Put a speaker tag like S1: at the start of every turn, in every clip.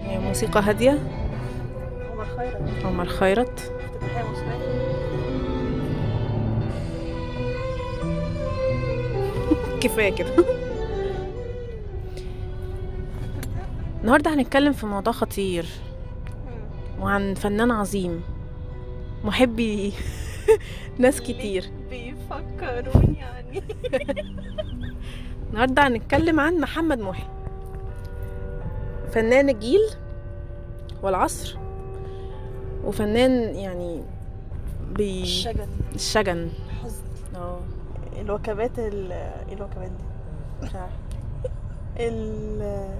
S1: موسيقى هادية
S2: عمر خيرت
S1: عمر خيرت
S2: افتتاحية موسمية
S1: كفاية كده النهاردة هنتكلم في موضوع خطير وعن فنان عظيم محبي ناس كتير
S2: بيفكروني يعني
S1: النهاردة هنتكلم عن محمد محي فنان الجيل والعصر وفنان يعني بي...
S2: الشجن
S1: الشجن
S2: حزن
S1: اه
S2: الوكبات ال ايه الوكبات دي؟
S1: مش عارفة.
S2: ال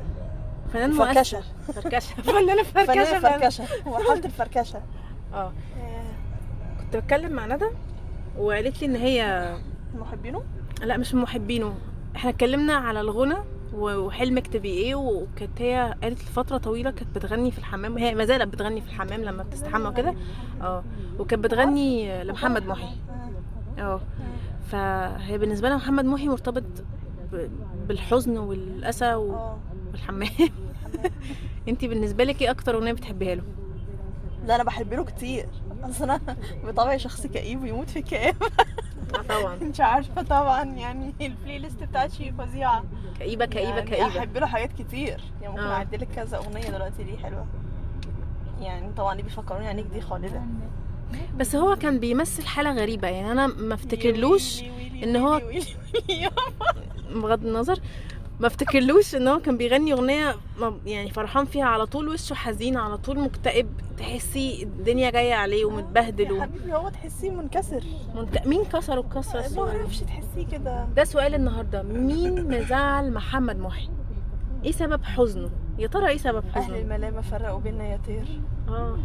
S1: فنان مؤثر
S2: الفركشة
S1: فركشة فنانة فركشة
S2: فنانة
S1: فعلاً.
S2: فركشة مرحلة الفركشة
S1: اه كنت بتكلم مع ندى وقالت لي ان هي
S2: محبينه
S1: لا مش من محبينه احنا اتكلمنا على الغنى و- وحلمك تبقي ايه وكانت هي قالت لفتره طويله كانت بتغني في الحمام هي ما زالت بتغني في الحمام لما بتستحمى وكده اه وكانت بتغني لمحمد محي اه فهي بالنسبه لها محمد محي مرتبط ب- بالحزن والاسى و-
S2: اه
S1: والحمام انت بالنسبه لك ايه اكتر اغنيه بتحبيها له
S2: لا انا بحب له كتير اصل انا بطبعي شخص كئيب ويموت في الكآب
S1: طبعا
S2: انت عارفه طبعا يعني البلاي ليست بتاعتي فظيعه
S1: كئيبه كئيبه
S2: يعني
S1: كئيبه
S2: احب له حاجات كتير يعني ممكن
S1: اه.
S2: اعدلك كذا اغنيه دلوقتي ليه حلوه يعني طبعا اللي بيفكروني عينيك دي خالده
S1: بس هو كان بيمثل حاله غريبه يعني انا ما افتكرلوش
S2: ويلي ويلي
S1: ان هو-
S2: ويلي ويلي.
S1: بغض النظر ما افتكرلوش ان هو كان بيغني اغنيه ما- يعني فرحان فيها على طول وشه حزين على طول مكتئب تحسي الدنيا جايه عليه ومتبهدل
S2: يا حبيبي هو تحسيه منكسر
S1: ومنت... مين كسره الكسره
S2: ما
S1: الصغيرة دي؟
S2: اعرفش تحسيه كده
S1: ده سؤال النهارده مين مزعل محمد محي ايه سبب حزنه يا ترى ايه سبب
S2: اهل
S1: حزنه
S2: الملامه فرقوا بينا يا طير
S1: اه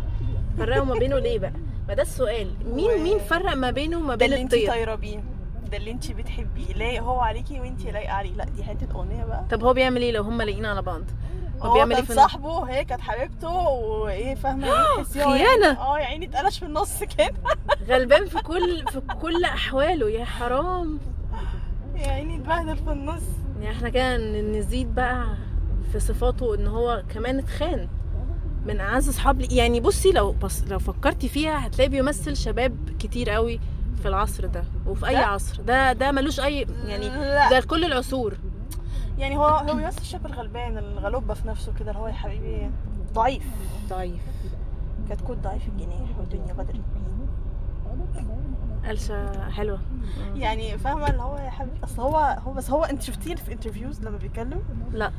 S1: فرقوا ما بينه ليه بقى ما ده السؤال مين
S2: و-
S1: مين فرق ما بينه وما
S2: ده
S1: بين
S2: اللي انت
S1: الطير
S2: طايره بيه ده اللي انت بتحبيه لايق هو عليكي وانت لايقه عليه لا دي حته اغنيه بقى
S1: طب هو بيعمل ايه لو هما لاقيين على بعض هو
S2: هو
S1: بيعمل ايه
S2: كان
S1: في النص؟ آه،
S2: صاحبه وهي كانت حبيبته وايه فاهمه ايه تحسيه هو
S1: خيانة.
S2: يعني- اه يا عيني اتقلش في النص كده
S1: غلبان في كل في كل احواله يا حرام
S2: يا عيني اتبهدل في النص
S1: يعني احنا كده ن- نزيد بقى في صفاته ان هو كمان اتخان من اعز اصحاب لي يعني بصي لو بص لو فكرتي فيها هتلاقيه بيمثل شباب كتير قوي في العصر ده وفي اي
S2: ده؟
S1: عصر ده ده ملوش اي يعني
S2: لا
S1: ده كل العصور
S2: يعني هو هو بس الشاب الغلبان الغلوبه في نفسه كده اللي هو يا حبيبي ضعيف طيب.
S1: ضعيف
S2: كتكوت ضعيف الجنيه والدنيا بدر
S1: قلشة حلوة
S2: يعني فاهمه اللي هو يا حبيبي اصل هو هو بس هو انت شفتيه في انترفيوز لما بيتكلم
S1: لا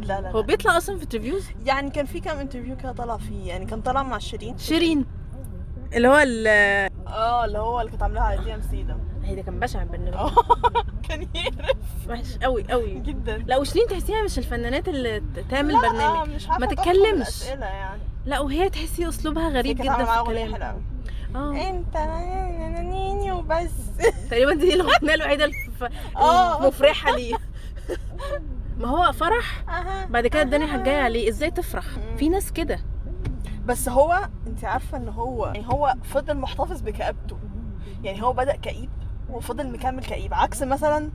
S2: لا لا,
S1: هو
S2: لا.
S1: بيطلع اصلا في انترفيوز
S2: يعني كان في كام انترفيو كده طلع فيه يعني كان طالع مع شيرين
S1: شيرين اللي هو ال
S2: اه اللي هو اللي كانت عاملاها على دي ام سي ده
S1: هي ده كان بشع البرنامج
S2: اه كان يقرف
S1: وحش قوي قوي
S2: جدا
S1: لا وشيرين تحسيها مش الفنانات اللي ت- تعمل
S2: لا،
S1: برنامج
S2: آه، مش عارفة
S1: ما
S2: تدخل
S1: تتكلمش.
S2: الأسئلة يعني
S1: لا وهي تحسي اسلوبها غريب
S2: كانت
S1: جدا
S2: عاملة معاه
S1: في
S2: أغنية
S1: الكلام
S2: حلوة
S1: اه
S2: أنت نانيني وبس
S1: تقريبا دي الاغنيه الوحيده الف-
S2: آه.
S1: المفرحه ليه ما هو فرح
S2: أها.
S1: بعد كده الدنيا هتجاية عليه ازاي تفرح
S2: مم.
S1: في ناس كده
S2: بس هو أنت عارفة إن هو يعني هو فضل محتفظ بكآبته يعني هو بدأ كئيب وفضل مكمل كئيب عكس مثلا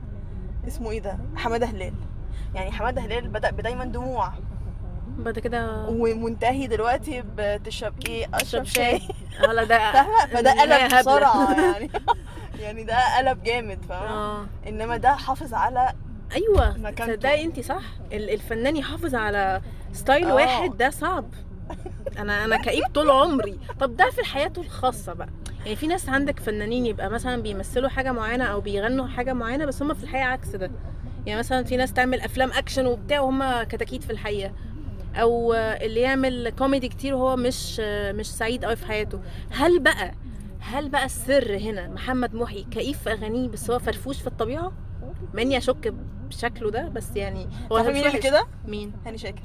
S2: اسمه إيه ده حمادة هلال يعني حمادة هلال بدأ بدايما دموع
S1: بعد كده
S2: ومنتهي دلوقتي بتشرب ايه اشرب
S1: اشرب
S2: شاي
S1: شاي ولا ده
S2: فاهمه فده
S1: إن هي
S2: قلب
S1: هبلة.
S2: بسرعه يعني يعني ده قلب جامد فاهمه
S1: اه
S2: انما ده حافظ على
S1: ايوه
S2: مكانته.
S1: تصدقي انت صح ال- الفنان يحافظ على ستايل
S2: آه.
S1: واحد ده صعب انا انا كئيب طول عمري طب ده في حياته الخاصه بقى يعني في ناس عندك فنانين يبقى مثلا بيمثلوا حاجه معينه او بيغنوا حاجه معينه بس هم في الحقيقه عكس ده يعني مثلا في ناس تعمل افلام اكشن وبتاع وهم كتاكيت في الحقيقه او اللي يعمل كوميدي كتير وهو مش مش سعيد قوي في حياته هل بقى هل بقى السر هنا محمد محي كئيب في اغانيه بس هو فرفوش في الطبيعه ماني اشك بشكله ده بس يعني هو
S2: تعرفي مين
S1: فرفوش.
S2: اللي كده
S1: مين
S2: هاني شاكر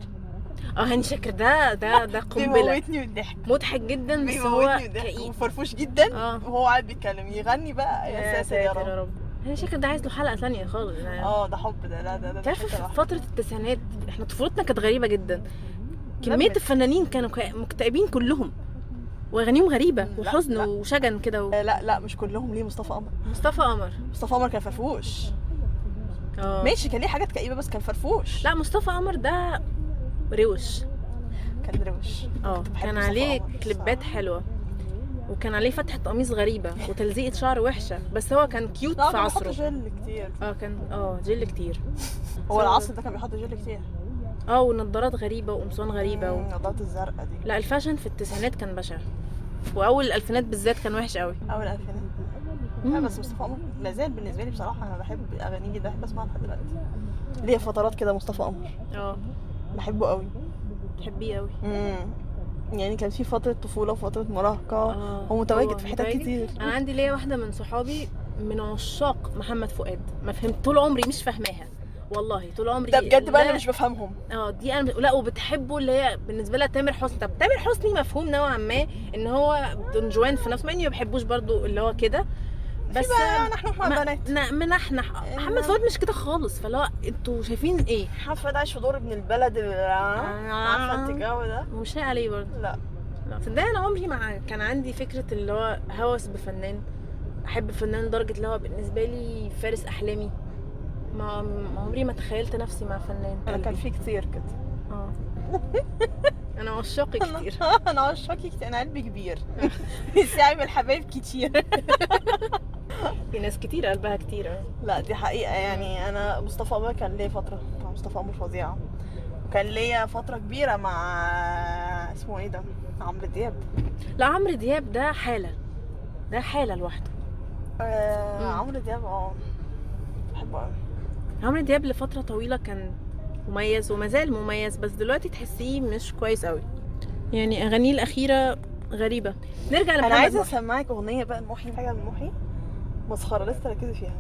S1: اه هاني شاكر ده ده ده قنبله
S2: بيموتني بالضحك
S1: مضحك جدا بس هو
S2: بيموتني بالضحك
S1: كئيب
S2: وفرفوش جدا
S1: اه
S2: وهو قاعد بيتكلم يغني بقى يا ساتر يا رب
S1: هاني شاكر ده عايز له حلقه ثانيه خالص يعني
S2: اه ده حب ده لا ده ده, ده
S1: تعرفوا
S2: حتة
S1: في
S2: لوحدها.
S1: فترة التسعينات احنا طفولتنا كانت غريبة جدا كمية
S2: لمت.
S1: الفنانين كانوا كا- مكتئبين كلهم واغانيهم غريبة
S2: لا،
S1: وحزن
S2: لا.
S1: وشجن كده و-
S2: آه، لا لا مش كلهم ليه مصطفى قمر
S1: مصطفى قمر
S2: مصطفى قمر كان فرفوش
S1: اه
S2: ماشي كان ليه حاجات كئيبه بس كان فرفوش
S1: لا مصطفى قمر ده روش
S2: كان درويش
S1: اه
S2: بحب
S1: كان
S2: مصطفى
S1: عليه
S2: قمر.
S1: كليبات حلوه وكان عليه فتحه قميص غريبه وتلزيقه شعر وحشه بس هو كان كيوت
S2: لا
S1: في
S2: كان بيحط
S1: عصره
S2: جل كتير
S1: اه كان اه جل كتير
S2: هو العصر ده كان بيحط جل كتير
S1: اه ونضارات غريبه وقمصان غريبه و...
S2: مم، النضارات الزرقاء دي
S1: لا الفاشن في التسعينات كان بشع واول الالفينات بالذات كان وحش قوي
S2: اول الفينات لا
S1: مم.
S2: بس مصطفى قمر ما زال بالنسبه لي بصراحه انا بحب اغانيه جدا بحب اسمعها لحد دلوقتي ليا فترات كده مصطفى قمر
S1: اه
S2: بحبه قوي
S1: بتحبيه قوي
S2: امم يعني كان في فتره طفوله وفتره مراهقه
S1: اه
S2: هو متواجد في حتت
S1: متواجد.
S2: كتير
S1: انا عندي ليا واحده من صحابي من عشاق محمد فؤاد ما فهمت طول عمري مش فاهماها والله طول عمري
S2: ده بجد بقى
S1: لا-
S2: انا مش بفهمهم
S1: اه دي انا لا وبتحبه اللي هي بالنسبه لها تامر حسني طب تامر حسني مفهوم نوعا ما ان هو دونجوان في نفسه مع اني ما بحبوش برضو اللي هو كده بس
S2: بقى نحن احنا
S1: ما-
S2: بنات
S1: ن- منحنح محمد فؤاد مش كده خالص فاللي هو انتوا شايفين آه، ايه؟
S2: محمد فؤاد عايش في دور ابن البلد اللي عارفه انت الجو ده
S1: ومش لايق عليه برضه
S2: لا
S1: لا صدقني انا عمري ما كان عندي فكره اللي هو هوس بفنان احب فنان لدرجه اللي هو بالنسبه لي فارس احلامي ما ما عمري ما تخيلت نفسي مع فنان
S2: انا كان
S1: قلبي.
S2: في كتير كده
S1: اه انا عشاقي كتير
S2: انا عشاقي كتير انا قلبي كبير نفسي اعمل حبايب كتير
S1: في ناس كتير قلبها كتير اه
S2: لا دي حقيقة يعني أنا مصطفى قمر كان ليا فترة مع مصطفى قمر فظيعة وكان ليا فترة كبيرة مع اسمه ايه ده؟ عمرو دياب
S1: لا عمرو دياب ده حاله ده حاله لوحده
S2: آه
S1: مم.
S2: عمرو دياب اه بحبه قوي
S1: عمرو دياب لفتره طويله كان مميز وما زال مميز بس دلوقتي تحسيه مش كويس قوي يعني اغانيه الاخيره غريبه نرجع
S2: أنا عايزة
S1: لمحمد
S2: أسمعك أغنية بقى لمحي حاجة لمحي مسخرة لسه ركزي فيها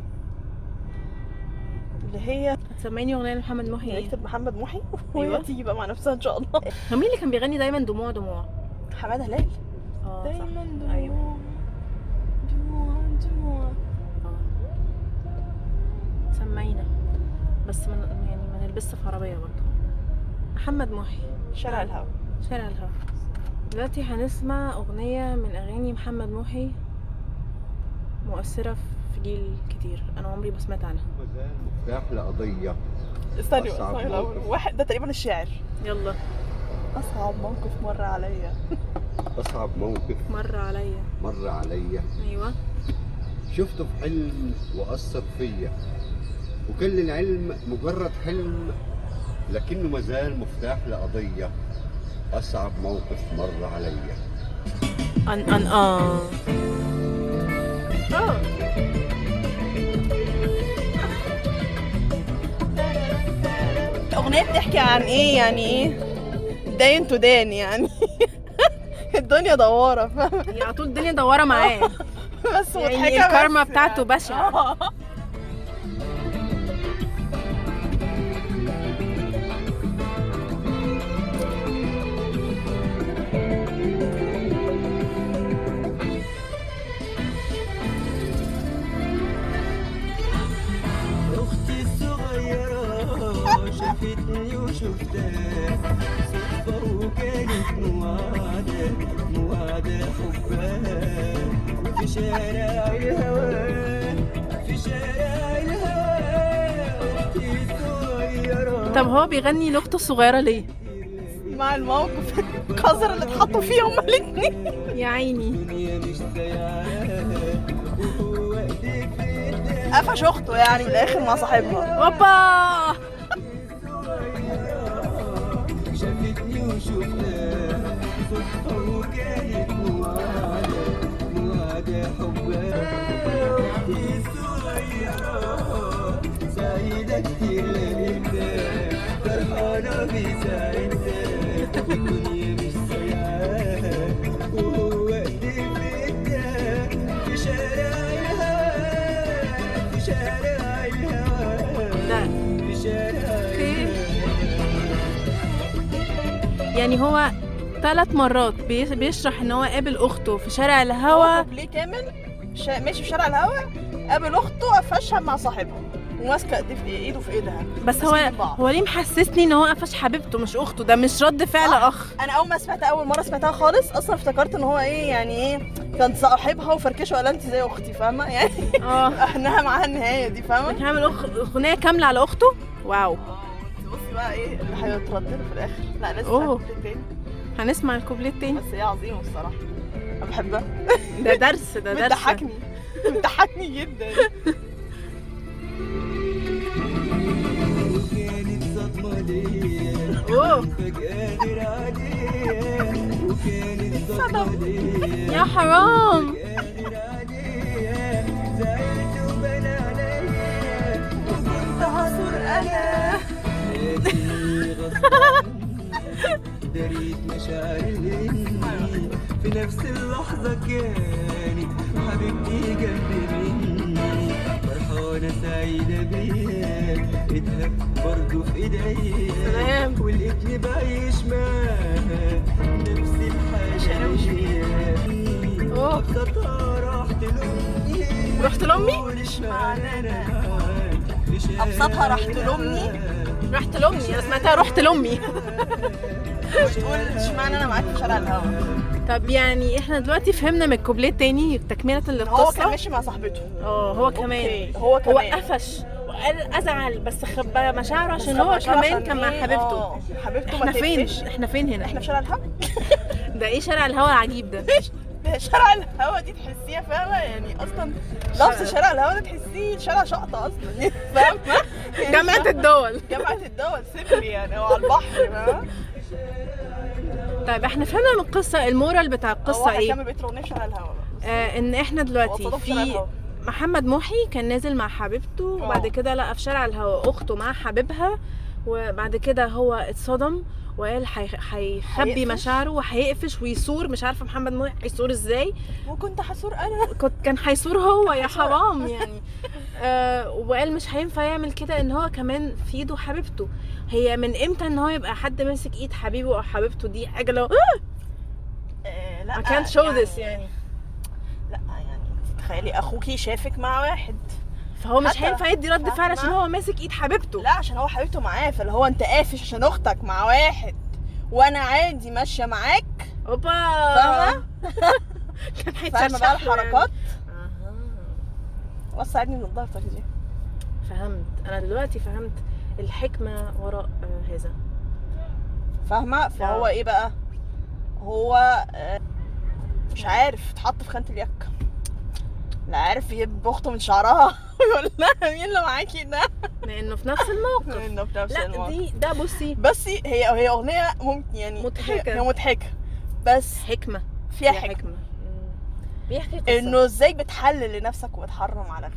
S2: اللي هي
S1: سمعني اغنيه لمحمد محي
S2: اللي
S1: ايه
S2: يكتب محمد محي
S1: أيوة.
S2: وهي تيجي بقى مع نفسها إن شاء الله
S1: هو مين اللي كان بيغني دايما دموع دموع
S2: حمادة هلال
S1: اه صح
S2: دايما
S1: أيوة.
S2: دموع دموع دموع
S1: آه. سمعينا بس من يعني ما نلبسها في عربيه برضه محمد محي
S2: شارع الهوا
S1: شارع الهوا دلوقتي هنسمع أغنية من أغاني محمد محي مؤثرة في- في جيل كتير أنا عمري ما سمعت عنها
S3: مفتاح لقضية
S2: استني
S3: أصعب
S2: استني الأول
S3: موقف.
S2: واحد ده تقريبا الشاعر
S1: يلا
S2: أصعب موقف مر عليا
S3: أصعب موقف
S1: مر عليا
S3: مر عليا
S1: أيوة
S3: شفته في حلم وأثر فيا وكل العلم مجرد حلم لكنه مازال مفتاح لقضية أصعب موقف مر عليا
S1: أن أن آه آه.
S2: الأغنية بتحكي عن إيه يعني إيه داين تو دان يعني الدنيا دوارة فاهم
S1: هي على طول الدنيا دوارة معاه
S2: بس
S1: يعني
S2: آه، مضحكة بس
S1: الكارما بتاعته بشعة.
S2: آه.
S4: اختي الصغيرة شافتني وشفتها صدفة وكانت مواعدة مواعدة حبها وفي شارع الهوى في شارع الهوى اختي الصغيرة
S1: طب هو بيغني لأخته الصغيرة ليه؟
S2: مع الموقف القذر اللي اتحطوا فيه هما الاتنين
S1: يا عيني
S4: الدنيا مش سايعة وهو ايديك في ايديها
S2: قفش أخته يعني من الآخر مع صاحبها
S1: أوبا
S4: شافتني وشفتها صدفة وكانت مواعدة مواعدة حبها وحدي صغيرة سعيدة كتير لقيتها فرحانة بسعادتها والدنيا مش سايعاها وهو ايديه في ايدها في شارع الهوى في شارع الهوى
S1: ده
S4: في شارع
S1: يعني هو ثلاث مرات بيش- بيشرح ان هو قابل اخته في شارع الهوا
S2: موقف ليه كامل شا... ماشي في شارع الهوا قابل أخته قفشها مع صاحبها وماسكة إيدي في إيده في إيدها
S1: بس هو
S2: ماسكين بعض.
S1: هو ليه محسسني ان هو قفش حبيبته مش اخته ده مش رد فعل اخ
S2: انا اول ما سمعتها اول مره سمعتها خالص اصلا افتكرت ان هو ايه يعني ايه كان صاحبها وفركشه ولا انت زي اختي فاهمه يعني
S1: اه
S2: احنها معاها النهايه دي آه، فاهمه
S1: هعمل أخ- اغنيه كامله على اخته واو
S2: بصي بقى ايه اللي إيه هيتردد في الاخر لا لازم
S1: أوه.
S2: تعمل تاني
S1: هنسمع الكوبليه التاني
S2: بس هي عظيمه الصراحه انا بحبها
S1: ده درس ده درس
S2: بتضحكني بتضحكني جدا
S4: وكانت صدمة ليا
S1: اوه
S4: فجأة غير عادية وكانت صدمة ليا
S1: يا حرام
S4: فجأة غير عادية زعلت وبان عليا وكنت حصور أنا لكني غصبان دريت مشاعرهن في نفس اللحظة كانت حبيبتي جنب مني فرحانة سعيدة بيا ايدها برضو في ايديا
S1: سلام.
S4: ولقيتني بعيش معاها نفسي بحاجة
S1: أوه.
S4: أبسطها رحت لأمي
S1: رحت لأمي؟
S4: مش معنى أنا معاك. مش
S2: أبسطها رحت
S4: أنا
S2: لأمي؟
S4: معاك.
S1: رحت لامي انا سمعتها رحت لامي
S2: مش تقول اشمعنى انا معاك في شارع الهوا
S1: طب يعني احنا دلوقتي فهمنا من الكوبليه التاني تكمله
S2: هو كان
S1: للقصه
S2: ماشي مع صاحبته
S1: اه هو كمان
S2: أوكي، هو
S1: هو
S2: كمان
S1: قفش وقال ازعل بس خبى مشاعره عشان
S2: بس
S1: هو
S2: عشان
S1: كمان كان مع
S2: إيه؟
S1: حبيبته
S2: آه، حبيبته
S1: احنا
S2: ما
S1: فين
S2: تقفش.
S1: احنا فين
S2: احنا
S1: هنا
S2: في شارع الهوا
S1: ده ايه شارع الهوا العجيب ده
S2: ده شارع الهوا دي تحسيها فاهمة يعني أصلا لفظ شارع الهوا ده تحسيه شارع شقطة أصلا يعني فاهمة؟ يعني
S1: جامعه الدول
S2: جامعة الدول سيبني يعني هو على البحر فاهمة؟
S1: طيب احنا فهمنا من القصه المورال بتاع
S2: هو
S1: القصه
S2: هيكمل
S1: ايه
S2: بيت الأغنية في شارع الهوا
S1: آه ان احنا دلوقتي
S2: وأتصادف شارع
S1: في
S2: الهوا
S1: محمد محي كان نازل مع حبيبته وبعد كده لقى في شارع الهوا اخته مع حبيبها وبعد كده هو اتصدم وقال حي- هيخبي
S2: هيقفش.
S1: مشاعره وهيقفش ويصور مش عارفه محمد محي هيصور ازاي
S2: وكنت حسور أنا
S1: كنت كان هيصور هو يا حرام يعني آه وقال مش هينفع يعمل كده ان هو كمان في ايده حبيبته هي من امتى ان هو يبقى حد ماسك ايد حبيبه او حبيبته دي حاجه لو
S2: آه، لا
S1: I can't show this يعني
S2: لا يعني تخيلي أخوكي شافك مع واحد
S1: فهو مش
S2: حتى-
S1: هينفع يدي رد فعل عشان
S2: فاهمة؟
S1: هو ماسك ايد حبيبته
S2: لا عشان هو حبيبته معاه فاللي هو أنت قافش عشان أختك مع واحد وأنا عادي ماشية معاك
S1: اوبا
S2: فاهمة؟
S1: كان
S2: فاهمة بقى
S1: هيتشرشح يعني.
S2: الحركات وسعدني من الضغطة دي
S1: فهمت انا دلوقتي فهمت الحكمه وراء آه، هذا
S2: فاهمه فهو
S1: آه.
S2: ايه بقى هو آه، مش عارف اتحط في خانه اليك لا عارف يجيب اخته من شعرها ويقول لها مين اللي معاكي ده
S1: لانه في نفس الموقف
S2: انه في نفس
S1: لا
S2: الموقف
S1: دي ده بصي
S2: بس هي هي اغنيه ممكن يعني
S1: مضحكة.
S2: هي هي مضحكه بس
S1: حكمه
S2: فيها
S1: هي
S2: حكمه
S1: مم. بيحكي قصه
S2: انه ازاي بتحلل لنفسك وبتحرم على غيرك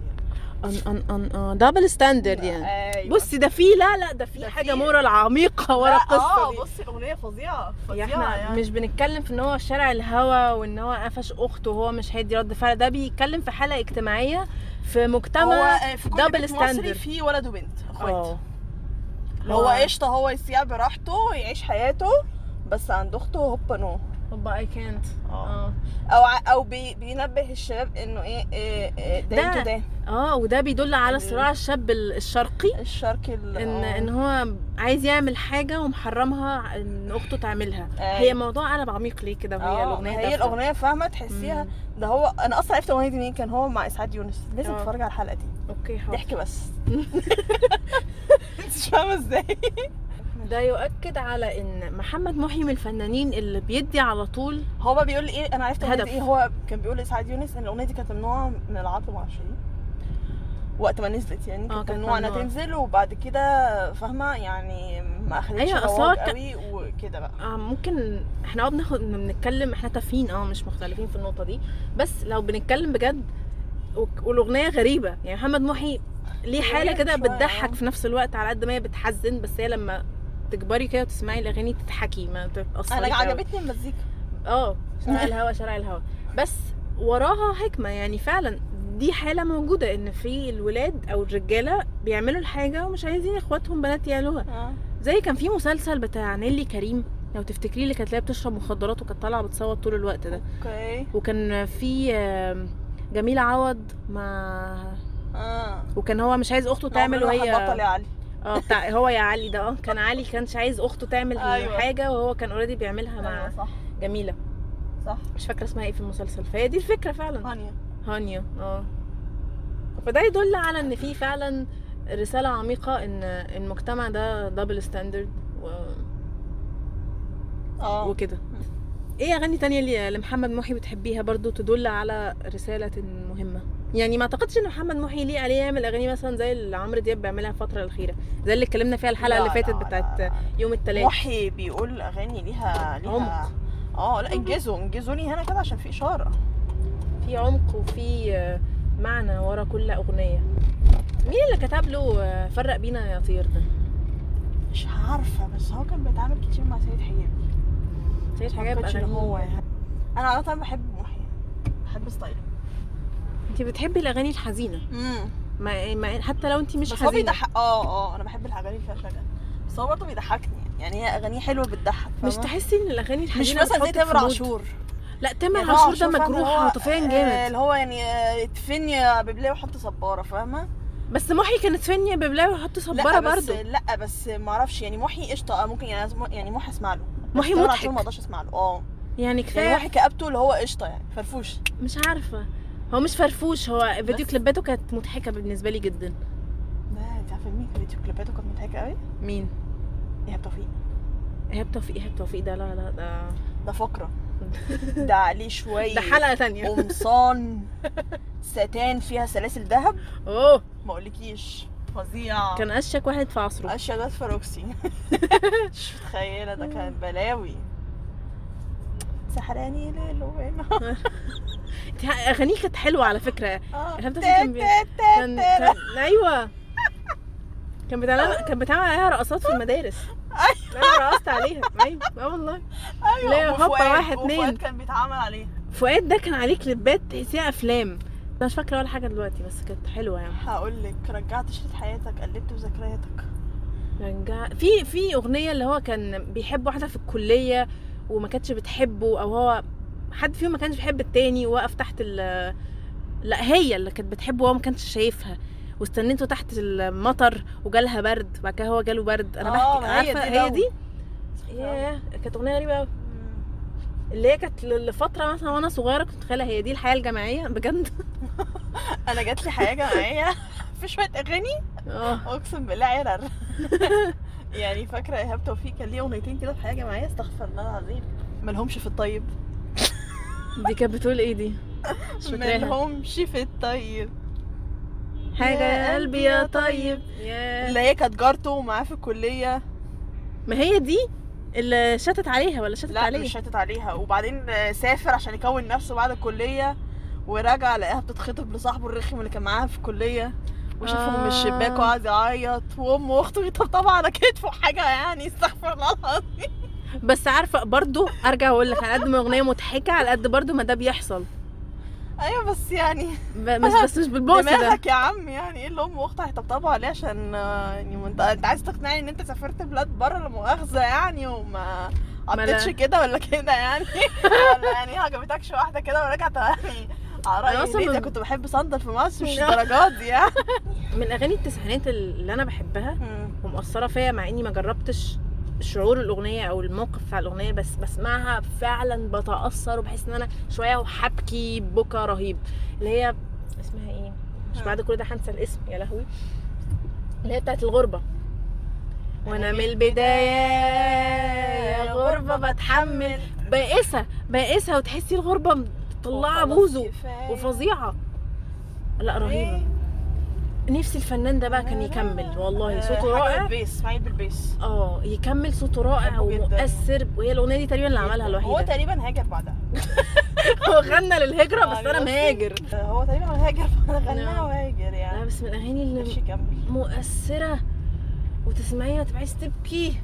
S1: ان ان ان
S2: آه،
S1: ان دبل ستاندرد يعني
S2: أيوة.
S1: بصي ده في لا لا ده في
S2: ده
S1: حاجه
S2: في-
S1: مورال عميقه ورا
S2: لا،
S1: القصه
S2: اه
S1: دي
S2: بصي الاغنيه فظيعه
S1: يعني
S2: فظيعه
S1: احنا
S2: يعني.
S1: مش بنتكلم في ان هو شارع الهوا وان هو قفش اخته وهو مش هيدي رد فعل ده بيتكلم في حاله اجتماعيه في
S2: هو
S1: مجتمع
S2: آه، في كل
S1: دبل
S2: بيت مصري
S1: standard.
S2: في ولد وبنت اخوات
S1: اه
S2: هو قشطه هو يسيع براحته ويعيش حياته بس عند اخته هوبا نو
S1: هوبا اي كانت
S2: آه.
S1: اه
S2: او ع- او بي بينبه الشباب انه ايه إيه- إيه
S1: ده.
S2: ده انتوا ده
S1: اه وده بيدل على صراع الشاب ال- الشرقي
S2: الشرق ال
S1: ان
S2: يعني آه.
S1: ان هو عايز يعمل حاجه ومحرمها ان اخته تعملها
S2: أيوة.
S1: هي موضوع قلب عميق ليه كده وهي
S2: آه،
S1: الاغنيه
S2: هي
S1: دافئة.
S2: الاغنيه فاهمه تحسيها
S1: مم.
S2: ده هو انا اصلا عرفت الاغنيه دي منين كان هو مع اسعاد يونس لازم
S1: آه.
S2: تتفرج على الحلقه دي
S1: اوكي حاضر
S2: ضحك بس انت مش فاهمه ازاي
S1: ده يؤكد على ان محمد محي من الفنانين اللي بيدي على طول
S2: هو بقى بيقول لي ايه انا عرفت الاغنيه دي
S1: هدف.
S2: ايه هو كان بيقول لاسعاد يونس ان الاغنيه دي كانت ممنوعه من العرض مع شيرين إيه. وقت ما نزلت يعني كانت
S1: آه، كانت
S2: ممنوعه انها
S1: ممنوعة.
S2: تنزل وبعد كده فاهمه يعني ما اخدتش
S1: أيوة، أصل هو
S2: رواج
S1: كان-
S2: قوي وكده بقى
S1: آه ممكن احنا اه بناخد بنتكلم احنا تافهين اه مش مختلفين في النقطه دي بس لو بنتكلم بجد و- والاغنيه غريبه يعني محمد محي ليه حاله
S2: غريب
S1: كده
S2: شوية،
S1: بتضحك
S2: آه.
S1: في نفس الوقت على قد ما هي بتحزن بس هي لما تكبري كده وتسمعي الاغاني تضحكي ما تتاثريش
S2: انا
S1: أوي.
S2: عجبتني المزيكا
S1: اه شارع الهوا شارع الهوا بس وراها حكمه يعني فعلا دي حاله موجوده ان في الولاد او الرجاله بيعملوا الحاجه ومش عايزين اخواتهم بنات يعملوها
S2: آه،
S1: زي كان في مسلسل بتاع نيلي كريم لو تفتكريه اللي كانت لاقيه بتشرب مخدرات وكانت طالعه بتصوت طول الوقت ده
S2: اوكي
S1: وكان في آم، جميل عوض مع
S2: اه
S1: وكان هو مش عايز اخته تعمل
S2: عمرنا
S1: وهي
S2: هنبطل يا علي
S1: اه بتاع هو يا علي ده اه كان علي كانش عايز اخته تعمل
S2: أيوة.
S1: حاجه وهو كان اوريدي بيعملها
S2: أيوة،
S1: مع
S2: صح
S1: جميله
S2: صح
S1: مش فاكره اسمها ايه في المسلسل فهي دي الفكره فعلا
S2: هانيا
S1: هانيا اه فده يدل على ان في فعلا رساله عميقه ان المجتمع ده دبل ستاندرد و
S2: اه
S1: وكده ايه اغاني تانية اللي- لمحمد محي بتحبيها برضو تدل على رسالة مهمة يعني ما اعتقدش ان محمد محي ليه عليه يعمل اغاني مثلا زي اللي عمرو دياب بيعملها الفترة الأخيرة زي اللي اتكلمنا فيها الحلقة
S2: لا،
S1: اللي فاتت
S2: لا، لا،
S1: بتاعت
S2: لا.
S1: يوم التلات
S2: محي بيقول اغاني ليها ليها
S1: عمق.
S2: اه لا انجزوا انجزوني هنا كده عشان في اشاره
S1: في عمق وفي آه، معنى ورا كل أغنية مين اللي كتب له آه، فرق بينا يا طير ده؟
S2: مش عارفه بس هو كان بيتعامل كتير مع سيد حجاب
S1: سيد
S2: ما
S1: حاجات
S2: كانش اللي
S1: أغانيه
S2: هو يعني. انا عاده بحب محي بحب ستايله
S1: انت بتحبي الأغاني الحزينة
S2: امم
S1: ما ما- حتى لو انت مش
S2: بس هو
S1: حزينة
S2: بيضحك اه اه انا بحب الحاجات اللي فيها شجن بس هو برضه بيضحكني يعني هي اغانيه حلوه بتضحك
S1: مش
S2: فاهمة؟
S1: تحسي ان الاغاني
S2: مش
S1: الحزينه
S2: مثلا زي
S1: بتحطك في
S2: تامر
S1: مود؟
S2: عاشور
S1: لا تامر
S2: يعني
S1: عاشور ده
S2: فاهمة اللي
S1: مجروح
S2: هو-
S1: عاطفيا
S2: آه،
S1: جامد
S2: اللي هو يعني آه، ادفني يا ببليه وحط صباره فاهمه
S1: بس محي كانت فينيا ببلاوي وحط صباره
S2: لا بس
S1: برضه
S2: لا بس ما اعرفش يعني محي قشطه آه، ممكن يعني يعني محي اسمع له
S1: محي
S2: تامر عاشور ما
S1: مضحك
S2: اقدرش اسمع له اه
S1: يعني
S2: يعني
S1: كفايه
S2: محي كابته اللي هو قشطه يعني فرفوش
S1: مش عارفه هو مش فرفوش هو فيديو
S2: بس.
S1: كليباته كانت مضحكه بالنسبه لي جدا
S2: لا انت عارفه مين فيديو كليباته كانت مضحكه قوي
S1: مين
S2: ايهاب توفيق
S1: ايهاب توفيق ايهاب توفيق ده لا لا ده
S2: ده فقره ده عليه شويه
S1: ده حلقه تانية
S2: قمصان ستان فيها سلاسل ذهب
S1: اوه
S2: ما اقولكيش فظيع
S1: كان اشك واحد في عصره
S2: اشياء جت في روكسي مش متخيله ده كان بلاوي سحراني ليل وين أه.
S1: انت- اغانيه كانت حلوه على فكره
S2: آه.
S1: إيهاب توفيق كان بي- كان,
S2: كان
S1: كان ايوه كان بتعمل كان بتعمل عليها رقصات في المدارس
S2: أيوة.
S1: انا رقصت عليها ايوه اه والله لا، هوبا، واحد، اتنين.
S2: كان بيتعامل عليه
S1: فؤاد ده كان عليه كليبات تحسيها افلام انا مش فاكره ولا حاجه دلوقتي بس كانت حلوه يعني
S2: هقول لك رجعت شريط حياتك قلبت ذكرياتك
S1: رجع في في اغنيه اللي هو كان بيحب واحده في الكليه وما كانتش بتحبه او هو حد فيهم ما كانش بيحب التاني ووقف تحت ال لا هي اللي كانت بتحبه وهو ما كانش شايفها واستنيته تحت المطر وجالها برد بعد كده هو جاله برد انا
S2: آه،
S1: بحكي
S2: ما هي
S1: عارفه
S2: دي
S1: هي
S2: لو.
S1: دي ياه كانت اغنيه غريبه قوي اللي هي كانت ل- لفتره مثلا وانا صغيره كنت متخيله هي دي الحياه الجامعيه بجد
S2: انا جات لي حياه جماعيه في شويه اغاني
S1: اه
S2: اقسم بالله عرر يعني فاكره ايهاب توفيق كان ليه اغنيتين كده في حياه جماعيه استغفر الله العظيم ملهمش في الطيب
S1: دي كانت بتقول ايه دي مش فاكراها.
S2: ملهمش في الطيب
S1: حاجه يا قلبي يا طيب يا
S2: اللي هي كانت جارته ومعاه في الكليه
S1: ما هي دي اللي شتت عليها ولا شتت
S2: لا
S1: عليه
S2: مش شتت عليها وبعدين آه، سافر عشان يكون نفسه بعد الكليه ورجع لقاها بتتخطب لصاحبه الرخم اللي كان معاها في الكليه وشافه من
S1: آه.
S2: الشباك وقعد يعيط وامه واخته بيطبطبوا على كتفه حاجه يعني استغفر الله العظيم
S1: بس عارفه برضو ارجع واقول لك على قد ما اغنيه مضحكه على قد برضو ما ده بيحصل
S2: ايوه بس يعني
S1: ب- مش بس مش بالبوس ده
S2: دماغك يا عم يعني ايه اللي ام واختها هيطبطبوا عليه عشان آه، يعني ما انت انت عايز تقنعني ان انت سافرت بلاد بره لا مؤاخذه يعني وما
S1: ما لا.
S2: قضيتش كده ولا كده يعني ولا يعني إيه عجبتكش واحده كده ورجعت يعني على
S1: أنا
S2: رأيي
S1: أصلاً
S2: ليه
S1: من-
S2: ده كنت بحب صندل في مصر مش الدرجات دي يعني
S1: من اغاني التسعينات اللي انا بحبها
S2: مم.
S1: ومؤثره فيا مع اني ما جربتش شعور الاغنيه او الموقف بتاع الاغنيه بس بسمعها فعلا بتاثر وبحس ان انا شويه وحبكي بكى رهيب اللي هي اسمها ايه مش
S2: آه.
S1: بعد كل ده هنسى الاسم يا لهوي اللي هي بتاعت الغربه وانا من البدايه غربه بتحمل بائسه بائسه وتحسي الغربه مطلعه
S2: وخلاص
S1: بوزه
S2: كفاية. إيه؟
S1: وفظيعه لا رهيبه نفسي الفنان ده بقى كان يكمل والله
S2: آه،
S1: صوته
S2: حاجة
S1: رائع
S2: بالبيس اسماعيل بالبيس
S1: اه يكمل صوته رائع
S2: بحبه جداً.
S1: ومؤثر وهي الاغنيه دي تقريبا اللي عملها
S2: هو
S1: الوحيده
S2: تقريبا هاجر بعدها
S1: هو غنى للهجره بس انا
S2: يعني
S1: مهاجر
S2: بصي، آه، هو تقريبا هاجر غناها
S1: نعم.
S2: وهاجر
S1: لا
S2: يعني
S1: بس من الاغاني
S2: مش
S1: اللي
S2: يكمل
S1: مؤثره وتسمعيها وتبقيش تبكي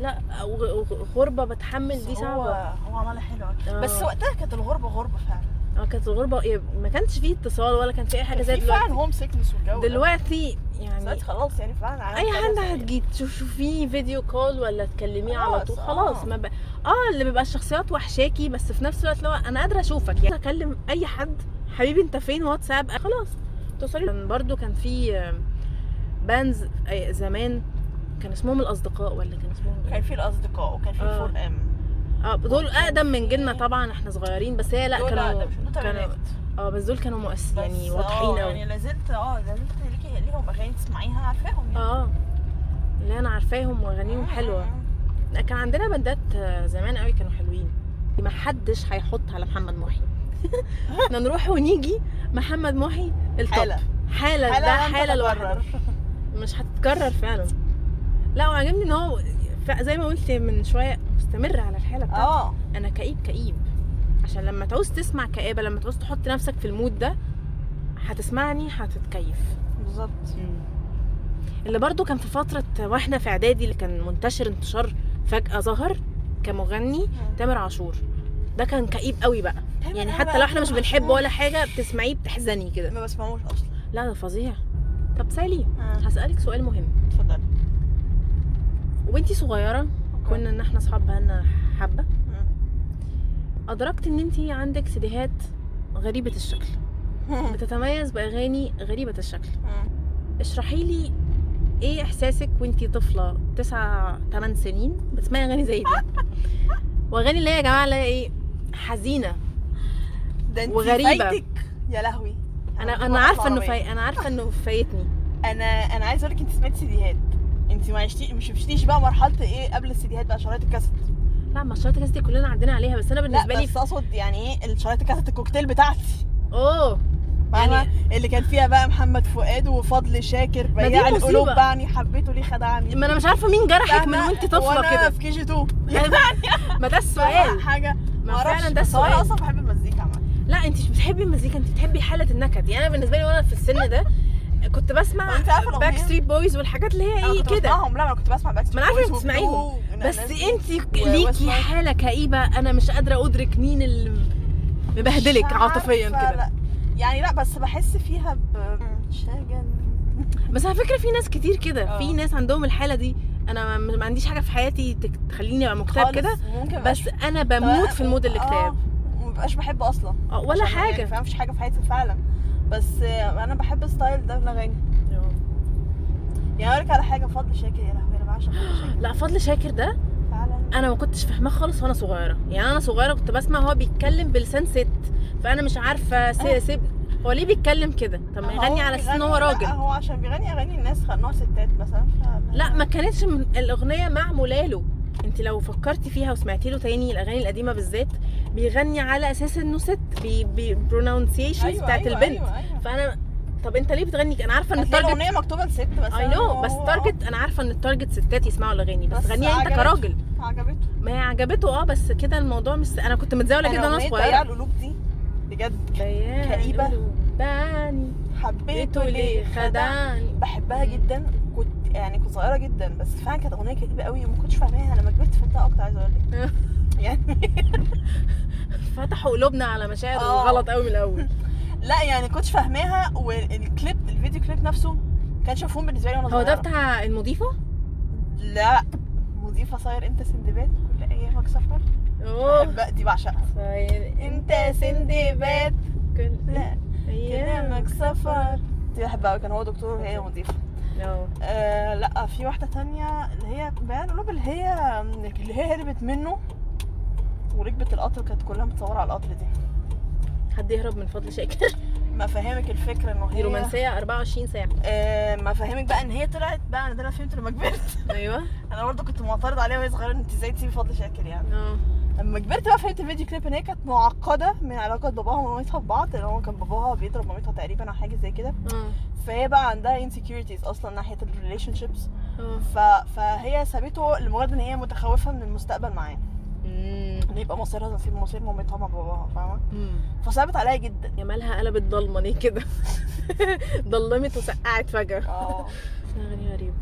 S1: لا و- و- غربه بتحمل دي
S2: بس هو
S1: صعبه
S2: هو عملها حلوه
S1: آه.
S2: بس وقتها كانت الغربه غربه فعلا
S1: اه كانت الغربه إيه، ما كانش فيه اتصال ولا كان فيه اي حاجه زي
S2: في
S1: دلوقتي
S2: فعلا هوم سيكنس والجو ده.
S1: دلوقتي يعني
S2: دلوقتي خلاص يعني فعلا عالم
S1: اي
S2: تاني
S1: حد
S2: زي-
S1: هتجي تشوفيه فيديو كول ولا تكلميه على
S2: خلاص،
S1: طول
S2: آه.
S1: خلاص ما ب... اه اللي بيبقى الشخصيات وحشاكي بس في نفس الوقت لو انا قادره اشوفك يعني اكلم اي حد حبيبي انت فين واتساب خلاص توصلي كان برضو كان في آه، بانز آه، زمان كان اسمهم الاصدقاء ولا كان اسمهم
S2: كان
S1: ايه؟
S2: في الاصدقاء وكان في
S1: آه.
S2: فور ام
S1: اه دول اقدم من جيلنا طبعا احنا صغيرين بس هي لا
S2: يعني. دول
S1: كانوا
S2: أقدم، مش دول
S1: كانوا
S2: تمانينات.
S1: اه بس دول كانوا مؤس يعني
S2: بس
S1: واضحين قوي
S2: آه، يعني لازلت اه لازلت ليكي
S1: آه،
S2: ليهم اغاني تسمعيها عارفاهم يعني آه.
S1: اه اللي انا عارفاهم واغانيهم
S2: مم.
S1: حلوه كان عندنا بندات آه، زمان قوي كانوا حلوين ما حدش هيحط على محمد محي احنا نروح ونيجي محمد محي التوب
S2: حالة.
S1: حاله
S2: حالة
S1: ده
S2: لن
S1: حاله لوحده
S2: تتكرر.
S1: مش هتتكرر فعلا لا وعجبني ان هو ف- زي ما قلت من شويه مستمر على الحاله بتاعته
S2: اه
S1: انا كئيب كئيب عشان لما تعوز تسمع كآبة لما تعوز تحط نفسك في المود ده هتسمعني هتتكيف
S2: بالظبط
S1: اللي برضو كان في فترة واحنا في اعدادي اللي كان منتشر انتشار فجأة ظهر كمغني تامر عاشور ده كان كئيب قوي بقى يعني حتى لو احنا مش بنحبه ولا حاجة بتسمعيه بتحزني كده
S2: ما بسمعوش اصلا
S1: لا ده فظيع طب سالي
S2: آه،
S1: هسألك سؤال مهم
S2: اتفضل
S1: وانتي صغيرة كنا ان احنا اصحاب بقالنا حبة ادركت ان انتي عندك سيديهات غريبة الشكل بتتميز باغاني غريبه الشكل اشرحي لي ايه احساسك وانتي طفله 9 8 سنين بتسمعي اغاني زي دي واغاني اللي هي يا جماعه اللي هي ايه حزينه
S2: ده انت
S1: وغريبة.
S2: فايتك يا لهوي
S1: انا
S2: دي
S1: انا
S2: مرة
S1: عارفه انه
S2: عربية.
S1: في... انا عارفه انه فايتني
S2: انا انا عايز اقول لك انت سمعتي سيديهات انت ما عشتي مش شفتيش بقى مرحله ايه قبل السيديهات بقى شرايط الكاسيت
S1: لا ما شرط الناس دي كلنا عدينا عليها بس انا
S2: لا
S1: بالنسبه لي
S2: بس اقصد يعني ايه شرايط الكاسيت الكوكتيل بتاعتي
S1: اوه
S2: يعني اللي كان فيها بقى محمد فؤاد وفضل شاكر
S1: دي
S2: بياع
S1: مصيبة.
S2: القلوب يعني حبيته ليه خدعني
S1: ما انا مش عارفه مين جرحك من وانت طفله
S2: وانا
S1: كده
S2: في كي جي 2
S1: ما ده السؤال
S2: حاجه
S1: ما
S2: معرفش.
S1: فعلا ده
S2: بس هو انا
S1: السؤال
S2: اصلا بحب المزيكا عامه
S1: لا انت مش بتحبي المزيكا انت بتحبي حاله النكد يعني انا بالنسبه لي وانا في السن ده كنت بسمع
S2: طب انت عارفة الأغنية؟
S1: باك ستريت بويز والحاجات اللي هي
S2: انا
S1: ايه
S2: كنت يعني
S1: كده
S2: بسمعهم لا انا كنت بسمع باك
S1: ما انا عارفه انك بتسمعيهم بس انت
S2: و-
S1: ليكي
S2: واسمع.
S1: حاله كئيبه انا مش قادره ادرك مين اللي مبهدلك عاطفيا كده
S2: يعني لا بس بحس فيها بشجن
S1: بس على فكره في ناس كتير كده
S2: اه.
S1: في ناس عندهم الحاله دي انا ما ما عنديش حاجه في حياتي تك- تخليني ابقى مكتئب
S2: خالص.
S1: كده
S2: ممكن مبقاش-
S1: بس انا
S2: طب
S1: بموت
S2: أنا-
S1: في المود الاكتئاب
S2: آه، ومبقاش بحبه اصلا
S1: اه، ولا
S2: عشان يعني
S1: حاجه
S2: فاهم مفيش حاجه في حياتي فعلا بس آه، انا بحب الستايل ده في الاغاني يعني اقول لك على حاجه فضل شاكر يا لهوي انا بعشق فضل شاكر
S1: لا فضل شاكر ده
S2: فعلا
S1: انا ما كنتش فاهماه خالص وانا صغيره يعني انا صغيره كنت بسمع هو بيتكلم بلسان ست فانا مش عارفه سي- سيب هو ليه بيتكلم كده طب ما
S2: آه. هو
S1: يغني على اساس ان هو
S2: بيغني-
S1: راجل
S2: لا هو عشان بيغني اغاني الناس خ- نوع ستات مثلا ف-
S1: لا ما كانتش من الاغنيه معموله له انت لو فكرتي فيها وسمعتي له تاني الاغاني القديمه بالذات بيغني على اساس انه ست ببرونونسيشنز أيوة بتاعت أيوة البنت أيوة.
S2: ايوه ايوه
S1: فانا طب انت ليه بتغني انا عارفه ان
S2: هتلاقي
S1: التارجت
S2: الاغنيه مكتوبه لست بس
S1: اي نو بس تارجت انا عارفه ان التارجت ستات يسمعوا الاغاني بس,
S2: بس
S1: غنيها انت
S2: عجبته.
S1: كراجل
S2: عجبته
S1: ما هي عجبته اه بس كده الموضوع مش انا كنت متزاوله
S2: يعني
S1: جدا وانا
S2: بياع
S1: صغيره
S2: القلوب دي بجد
S1: كئيبه
S2: كئيبة.
S1: باني
S2: حبيته
S1: بيته
S2: ليه
S1: ليه
S2: خدعني
S1: خدعني
S2: بحبها جدا كنت يعني كنت صغيره جدا بس فعلا كانت اغنيه كئيبه قوي وما كنتش فاهماها لما كبرت فهمتها اكتر عايزه اقول لك يعني
S1: فتحوا قلوبنا على مشاعر
S2: اه.
S1: غلط قوي من الاول
S2: لا يعني كنتش فاهماها والكليب الفيديو كليب نفسه كانش مفهوم بالنسبه لي وانا
S1: هو
S2: صغيره
S1: ده بتاع المضيفه
S2: لا مضيفه صاير انت سندباد كل ايامك سفر
S1: اوه
S2: بحبها دي بعشقها
S1: صاير
S2: انت سندباد
S1: كل
S2: لا
S1: ايامك
S2: ايامك سفر دي بحبها أوي، كان هو دكتور وهي مضيفه
S1: اه
S2: آه لا في واحده تانية اللي هي بيان قلوب اللي هي اللي هي هربت منه وركبت القطر كانت كلها متصوره على القطر دي
S1: حد يهرب من فضل شاكر
S2: ما فهمك الفكره انه
S1: دي
S2: هي
S1: رومانسيه 24 ساعه
S2: آه ما فهمك بقى ان هي طلعت بقى انا ده انا فهمت لما كبرت
S1: ايوه
S2: انا برضه كنت معترض عليها وهي صغيره إن انت ازاي تسيبي فضل شاكر يعني
S1: اه
S2: لما كبرت بقى فهمت الفيديو كليب ان هي كانت معقده من علاقه باباها ومامتها ببعض لان هو كان باباها بيضرب مامتها تقريبا او حاجه زي كده
S1: اه
S2: فهي بقى عندها insecurities اصلا ناحيه الريليشن شيبس
S1: اه
S2: ف... فهي سابته لمجرد ان هي متخوفه من المستقبل معاه
S1: أمم.
S2: ان يبقى مصيرها زي مصير مامتها مع باباها فاهمه
S1: أمم.
S2: فصعبت عليا جدا
S1: يا مالها قلبت ضلمه ليه كده ضلمت وسقعت فجاه
S2: اه
S1: اغاني غريبه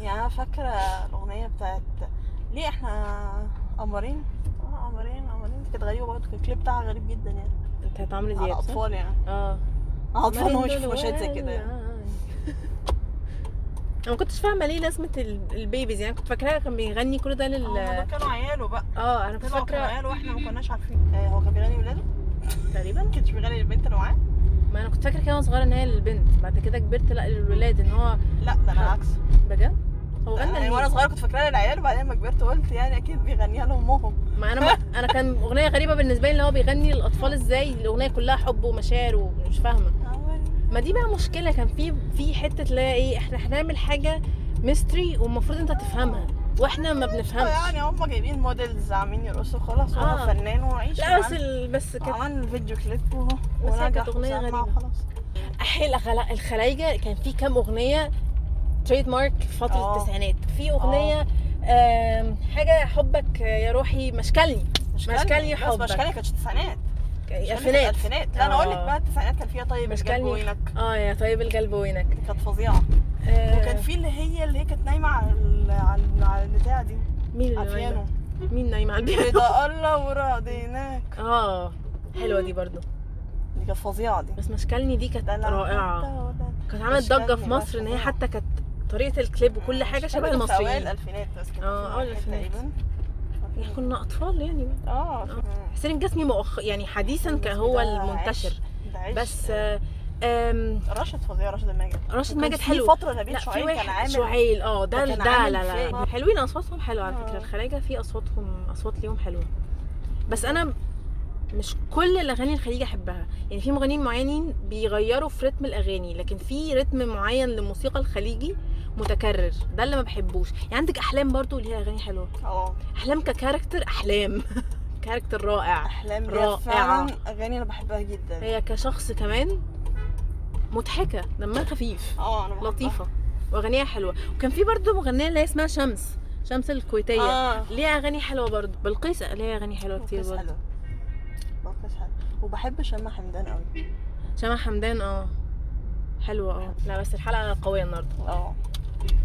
S2: يعني انا فاكره الاغنيه بتاعت ليه احنا قمرين اه قمرين قمرين دي كانت غريبه برضه الكليب بتاعها غريب جدا يعني
S1: بتاعت عمرو
S2: على
S1: دياب صح؟
S2: اطفال يعني
S1: اه
S2: على اطفال هو
S1: مريم
S2: يشوف
S1: دول
S2: مشاهد زي كده يعني.
S1: ولاي. انا ما كنتش فاهمه ليه لازمه ال- البيبيز يعني كنت فاكراها كان بيغني كل ده لل
S2: آه، هما دول كانوا عياله بقى
S1: اه انا كنت
S2: طلعوا كانوا
S1: فاكره
S2: عياله واحنا ما كناش عارفين آه، هو كان بيغني ولاده
S1: تقريبا
S2: ما كانش بيغني البنت اللي معاه
S1: ما انا كنت فاكره كده وانا صغيره ان هي للبنت بعد كده كبرت لا للولاد ان هو
S2: لا ده انا العكس
S1: بجد هو غنى
S2: يعني وانا
S1: لمين؟
S2: صغيره كنت فاكراها للعيال وبعدين لما كبرت قلت يعني اكيد بيغنيها لامهم
S1: ما انا ما انا كان اغنيه غريبه بالنسبه لي ان هو بيغني للاطفال ازاي الاغنيه كلها حب ومشاعر ومش فاهمه ما دي بقى إيه، مشكله كان في في حته اللي هي ايه احنا هنعمل حاجه ميستري والمفروض انت تفهمها واحنا ما بنفهمش
S2: يعني هم جايبين موديلز عاملين يرقصوا خلاص وهو
S1: آه.
S2: فنان وعيش
S1: لا بس ال- بس كانت
S2: عمل فيديو كليب وهو
S1: بس هي
S2: ونجح
S1: كانت أغنية
S2: وسمع
S1: غريبة.
S2: وخلاص
S1: احيل الخلا- الخلايجه كان في كام اغنيه تريد مارك في فتره
S2: آه.
S1: التسعينات في اغنيه آم، حاجه حبك يا روحي مشكلني مشكلني
S2: بس
S1: حبك.
S2: مشكلة كانت تسعينات مشكلة كانت
S1: الفينات
S2: الفينات لا انا
S1: آه.
S2: اقول لك بقى التسعينات كان فيها طيب
S1: مش
S2: الجنب
S1: كان-
S2: وينك
S1: اه يا طيب القلب وينك
S2: دي كانت فظيعة
S1: آه،
S2: وكان في اللي هي اللي هي كانت نايمة على ال- على ال- على البتاع
S1: أيوة،
S2: دي
S1: مين
S2: على
S1: اللي
S2: البيانو
S1: نايمة؟ مين نايم على البيانو
S2: رضا الله ورضيناك
S1: اه حلوه دي برضو
S2: دي كانت فظيعة دي
S1: بس مشكلني دي كانت
S2: ده أنا
S1: رائعه
S2: حتى وده-
S1: كانت عملت
S2: مشكلني
S1: ضجه في مصر ان هي
S2: بقى.
S1: حتى كانت طريقه الكليب وكل حاجه
S2: مش
S1: شبه
S2: فاكرة في اوائل
S1: المصريين
S2: الالفينات بس كانت
S1: آه،
S2: في
S1: أول الألفينات.
S2: تقريبا
S1: احنا كنا اطفال يعني
S2: اه
S1: حسين الجسمي مؤخ يعني حديثا
S2: بالنسبة
S1: هو
S2: ده
S1: المنتشر
S2: عيش- ده عيش.
S1: بس آه، آم،
S2: رشد فظيع رشد الماجد
S1: راشد
S2: وكان
S1: ماجد
S2: في
S1: حلو
S2: فترة
S1: لا
S2: نبيل
S1: في
S2: شعيب كان
S1: واحد
S2: عامل
S1: شعيل اه ده
S2: ده
S1: ده
S2: كان
S1: لا
S2: عامل
S1: لا لا
S2: فيلم.
S1: حلوين اصواتهم حلوه على فكره
S2: آه.
S1: الخلايجه في اصواتهم اصوات ليهم حلوه بس انا مش كل الاغاني الخليجي احبها يعني في مغنيين معينين بيغيروا في رتم الاغاني لكن في رتم معين للموسيقى الخليجي متكرر ده اللي ما بحبوش يعني عندك احلام برضو اللي هي اغاني حلوه
S2: اه
S1: احلام ككاركتر احلام كاركتر رائع
S2: احلام
S1: رائعة.
S2: ليها فعلا اغاني انا بحبها جدا
S1: هي كشخص كمان مضحكه دمها خفيف
S2: اه انا بحبها.
S1: لطيفه واغانيها حلوه وكان في برضو مغنيه اللي هي اسمها شمس شمس الكويتيه آه.
S2: اه
S1: ليها اغاني حلوه برضو بلقيس ليها اغاني حلوه كتير
S2: بس
S1: برضو
S2: حلو بس حلو وبحب شمع حمدان قوي
S1: شمع حمدان اه حلوه اه لا بس الحلقه قويه النهارده
S2: اه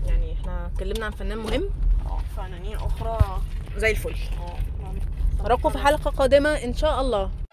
S1: يعني احنا اتكلمنا عن فنان مهم
S2: اه فنانين اخرى
S1: زي الفل
S2: اه
S1: نراكم في حلقه قادمه ان شاء الله